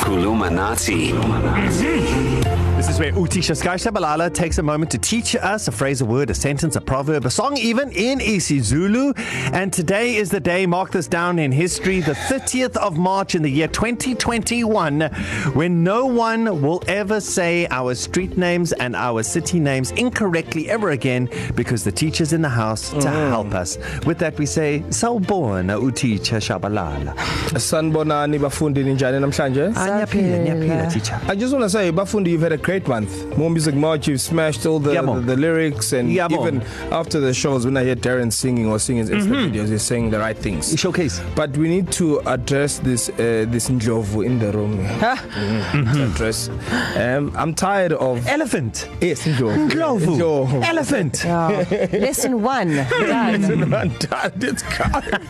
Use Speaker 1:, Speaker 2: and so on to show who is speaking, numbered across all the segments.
Speaker 1: Kulumanati.
Speaker 2: This is where Utisha Sky Shabalala takes a moment to teach us a phrase, a word, a sentence, a proverb, a song, even in isiZulu. And today is the day, mark this down in history, the 30th of March in the year 2021, when no one will ever say our street names and our city names incorrectly ever again because the teacher's in the house to mm. help us. With that, we say, Sawbona Utisha Shabalala.
Speaker 3: sanibonani bafundi ninjani namhlanje
Speaker 2: Anyaphila, nyaphila, teacher.
Speaker 3: i just want to say bafundi you've had a great month more music march you've smashed all the,
Speaker 2: Yabo.
Speaker 3: the, the lyrics and
Speaker 2: Yabo.
Speaker 3: even after the shows when i hear darren singing or singing his mm-hmm. videos he's saying the right things
Speaker 2: Showcase.
Speaker 3: but we need to address this uh, this ndlovu in the room mm-hmm. address um, i'm tired of
Speaker 2: Elephant.
Speaker 3: yes ndlovu
Speaker 2: Glovu.
Speaker 3: Ndlovu.
Speaker 2: Elephant.
Speaker 4: Oh, lesson one. Done.
Speaker 3: it's tired.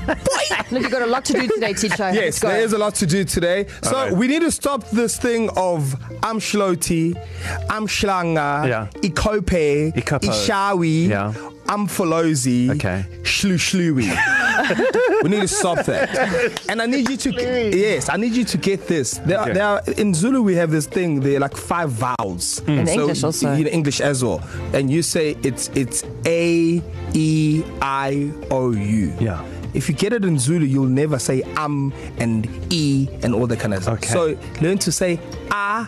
Speaker 4: Look, you've got a lot to do today, teacher. Let's
Speaker 3: Yes,
Speaker 4: go.
Speaker 3: there is a lot to do today. So
Speaker 2: right.
Speaker 3: right. we need to stop this thing of I'm Shloti, I'm Shlanga,
Speaker 2: Yeah.
Speaker 3: Ikope,
Speaker 2: Ikopo.
Speaker 3: Ishawi,
Speaker 2: Yeah.
Speaker 3: I'm Folozi,
Speaker 2: Okay.
Speaker 3: Shlu Shlui. we need to stop that. And I need you to, yes, I need you to get this. There,
Speaker 2: Okay.
Speaker 3: okay. there are, in Zulu, we have this thing, there are like five vowels. Mm.
Speaker 4: In English also.
Speaker 3: In English as well. And you say it's, it's A, E, I, O, U.
Speaker 2: Yeah.
Speaker 3: If you get it in Zulu, you'll never say um and e and all that kind of stuff.
Speaker 2: Okay.
Speaker 3: So learn to say a,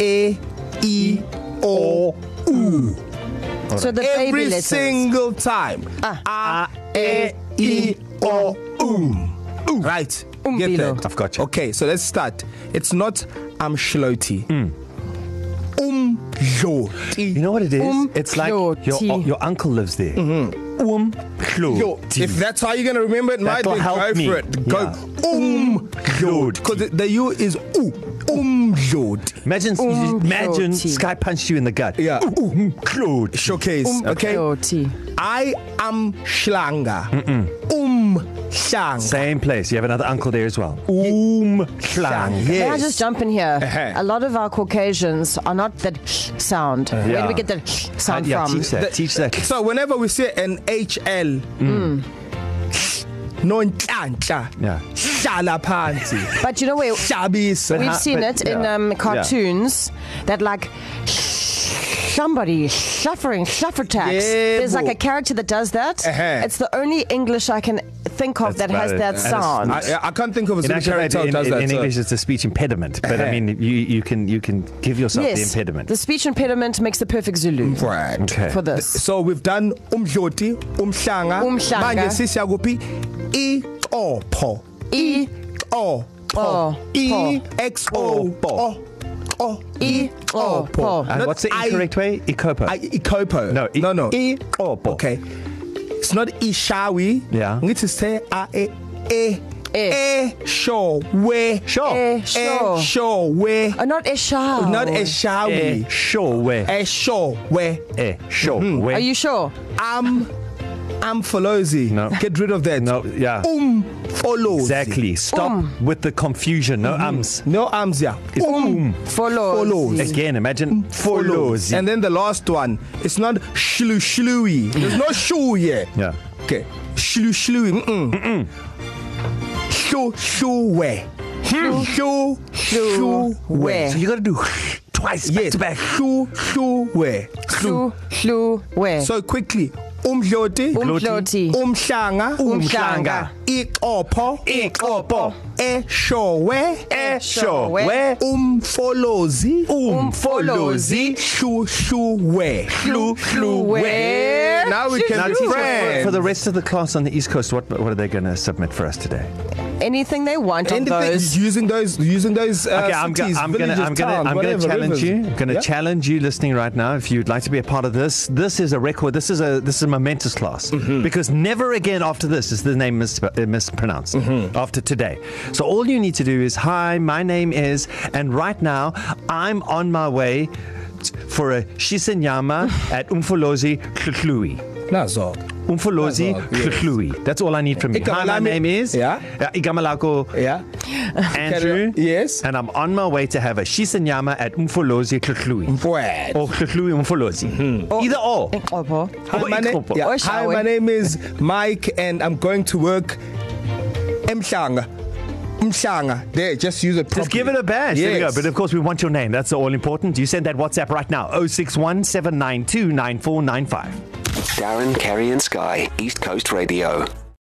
Speaker 3: e, e, o, u
Speaker 4: So the baby
Speaker 3: every
Speaker 4: letters. Ah.
Speaker 3: single time. A, e, e, o, u. Um. Right. Get
Speaker 4: Umbilo.
Speaker 3: that.
Speaker 2: I've got you.
Speaker 3: Okay, so let's start. It's not um shloti. Mm. Um joti.
Speaker 2: Hmm. You know what it is?
Speaker 4: Um,
Speaker 2: it's like your, uh,
Speaker 4: Kloti.
Speaker 2: your uncle lives there. Mm-hmm. Um,
Speaker 3: Yo,
Speaker 2: Kloti.
Speaker 3: if that's how you're gonna remember it, Mike,
Speaker 2: That'll
Speaker 3: then
Speaker 2: help
Speaker 3: go
Speaker 2: me.
Speaker 3: for it. Go yeah. um
Speaker 2: Kloti.
Speaker 3: because the, the U is u um joti.
Speaker 2: Imagine, um,
Speaker 4: Um,
Speaker 2: imagine
Speaker 4: Kloti.
Speaker 2: Sky punched you in the gut.
Speaker 3: Yeah.
Speaker 2: Um, Kloti.
Speaker 3: Showcase. Um, okay.
Speaker 4: Oh, T.
Speaker 3: I am Schlanga. Mm-mm. Um Schlanga.
Speaker 2: Same place. You have another uncle there as well. Um, Klang.
Speaker 4: May I
Speaker 3: Yes.
Speaker 4: just jump in here?
Speaker 3: Uh-huh.
Speaker 4: A lot of our Caucasians are not that sh sound. Yeah. Where do we get that sh sound
Speaker 2: Uh, Yeah,
Speaker 4: from?
Speaker 2: teach that.
Speaker 3: The-
Speaker 2: teach that.
Speaker 3: So whenever we say an HL, mm. no ntanhla.
Speaker 2: Yeah.
Speaker 3: Hlala phansi.
Speaker 4: But you know where
Speaker 3: Shabisa.
Speaker 4: we've
Speaker 2: how-
Speaker 4: seen
Speaker 2: but-
Speaker 4: it in
Speaker 2: yeah.
Speaker 4: um,
Speaker 2: Yeah.
Speaker 4: cartoons that like somebody suffering suffer tax.
Speaker 3: Yeah,
Speaker 4: There's
Speaker 3: bo.
Speaker 4: like a character that does that.
Speaker 3: Uh-huh.
Speaker 4: It's the only English I can think of
Speaker 2: That's
Speaker 4: that has
Speaker 2: about it.
Speaker 4: that
Speaker 2: And it's
Speaker 4: sound.
Speaker 3: I, I can't think of a
Speaker 2: In,
Speaker 3: Zulu
Speaker 2: actual, fact,
Speaker 3: character
Speaker 2: in,
Speaker 3: who does
Speaker 2: in,
Speaker 3: that.
Speaker 2: in
Speaker 3: so-
Speaker 2: English, it's a speech impediment, but I mean, you, you can you can give yourself
Speaker 4: yes,
Speaker 2: the impediment.
Speaker 4: the speech impediment makes the perfect Zulu
Speaker 3: Right.
Speaker 2: okay.
Speaker 4: for this.
Speaker 3: So we've done umdloti, umhlanga.
Speaker 4: Umhlanga.
Speaker 3: Manje sisiyakuphi? Iqopho.
Speaker 4: E
Speaker 3: Oh.
Speaker 4: Oh,
Speaker 3: E
Speaker 4: po.
Speaker 3: X O O O
Speaker 4: E O
Speaker 3: po.
Speaker 4: po.
Speaker 2: and
Speaker 3: not
Speaker 2: Uh, what's the
Speaker 3: I-
Speaker 2: incorrect I, way? Ikopo.
Speaker 3: I- Ikopo.
Speaker 2: No, E. i-
Speaker 3: no, no.
Speaker 2: Ikopo.
Speaker 3: Okay. It's not E. Ishawi.
Speaker 2: Yeah.
Speaker 3: Ngithi say a e e
Speaker 4: E.
Speaker 3: e show we
Speaker 2: Sure.
Speaker 4: Eh,
Speaker 3: e
Speaker 4: sure.
Speaker 3: show we
Speaker 4: Oh, not Eshaw.
Speaker 3: not
Speaker 2: Eh,
Speaker 3: Ishawi.
Speaker 2: sure, where?
Speaker 3: E show we.
Speaker 2: Eh, sure,
Speaker 3: Mm-hmm.
Speaker 2: where?
Speaker 4: Are you sure?
Speaker 3: I'm I'm Folozi.
Speaker 2: No.
Speaker 3: Get rid of that.
Speaker 2: No, yeah.
Speaker 3: Um Folozi.
Speaker 2: Exactly. Stop
Speaker 3: Oh.
Speaker 2: um. with the confusion.
Speaker 3: Mm-hmm.
Speaker 2: No ums.
Speaker 3: No arms here. Um
Speaker 4: Follows.
Speaker 3: Follows.
Speaker 2: Again, imagine follows.
Speaker 3: And then the last one, it's not shlu shlui. There's no shu here.
Speaker 2: Yeah.
Speaker 3: Okay. Shlu shlui. Mm mm. Shu shuwe. Shu
Speaker 4: Shu-
Speaker 3: shuwe.
Speaker 2: Hmm. So you got to do twice
Speaker 3: Yes.
Speaker 2: back to back.
Speaker 3: Shu shuwe.
Speaker 4: Flu, flu, where?
Speaker 3: So quickly. Umdloti.
Speaker 4: Umdloti.
Speaker 3: Umhlanga.
Speaker 4: Umhlanga.
Speaker 3: Iqopho.
Speaker 2: Iqopho.
Speaker 3: Eshowe.
Speaker 4: Eshowe.
Speaker 3: Umfolozi.
Speaker 4: Umfolozi.
Speaker 3: Shu shuwe.
Speaker 2: Flu, flu,
Speaker 4: where?
Speaker 3: Now we can
Speaker 2: Now,
Speaker 3: be
Speaker 2: teacher, for,
Speaker 3: friends.
Speaker 2: for the rest of the class on the East Coast, what, what are they going to submit for us today?
Speaker 4: Anything they want on those.
Speaker 3: using those, using those. Uh,
Speaker 2: Okay, I'm,
Speaker 3: cities,
Speaker 2: go- I'm gonna,
Speaker 3: villages,
Speaker 2: I'm gonna,
Speaker 3: towns,
Speaker 2: I'm gonna
Speaker 3: whatever,
Speaker 2: challenge
Speaker 3: rivers.
Speaker 2: you. I'm gonna
Speaker 3: yeah?
Speaker 2: challenge you, listening right now. If you'd like to be a part of this, this is a record. This is a, this is a momentous class mm-hmm. because never again after this is the name mis- uh, mispronounced mm-hmm. after today. So all you need to do is, hi, my name is, and right now I'm on my way t- for a shisenyama at Umfolozi Kluklui.
Speaker 3: Nazo.
Speaker 2: Umfolozi
Speaker 3: That's all, yes.
Speaker 2: Kluklui. That's all I need from you. Hi,
Speaker 3: Igama
Speaker 2: my
Speaker 3: lami-
Speaker 2: name is.
Speaker 3: Yeah.
Speaker 2: Uh, Igamalako
Speaker 3: Yeah.
Speaker 2: Andrew.
Speaker 3: Yes.
Speaker 2: And I'm on my way to have a shisenyama at Umfolozi
Speaker 3: Mm-hmm.
Speaker 2: Kluklui.
Speaker 3: Fred.
Speaker 2: Or Kluklui Umfolozi.
Speaker 3: Mm-hmm.
Speaker 2: Mm. Either or.
Speaker 3: Oh,
Speaker 4: Opo.
Speaker 3: Hi, my, na-
Speaker 2: Iqopho.
Speaker 3: yeah.
Speaker 4: Or
Speaker 3: Hi,
Speaker 4: Shawe.
Speaker 3: my name is Mike, and I'm going to work. Emhlanga. Mshanga. There, just use it properly.
Speaker 2: Just give it a bash. Yes. There we go.
Speaker 3: Yes.
Speaker 2: But of course, we want your name. That's all important. You send that WhatsApp right now 061 792 9495.
Speaker 1: Darren, Kerry, and Sky, East Coast Radio.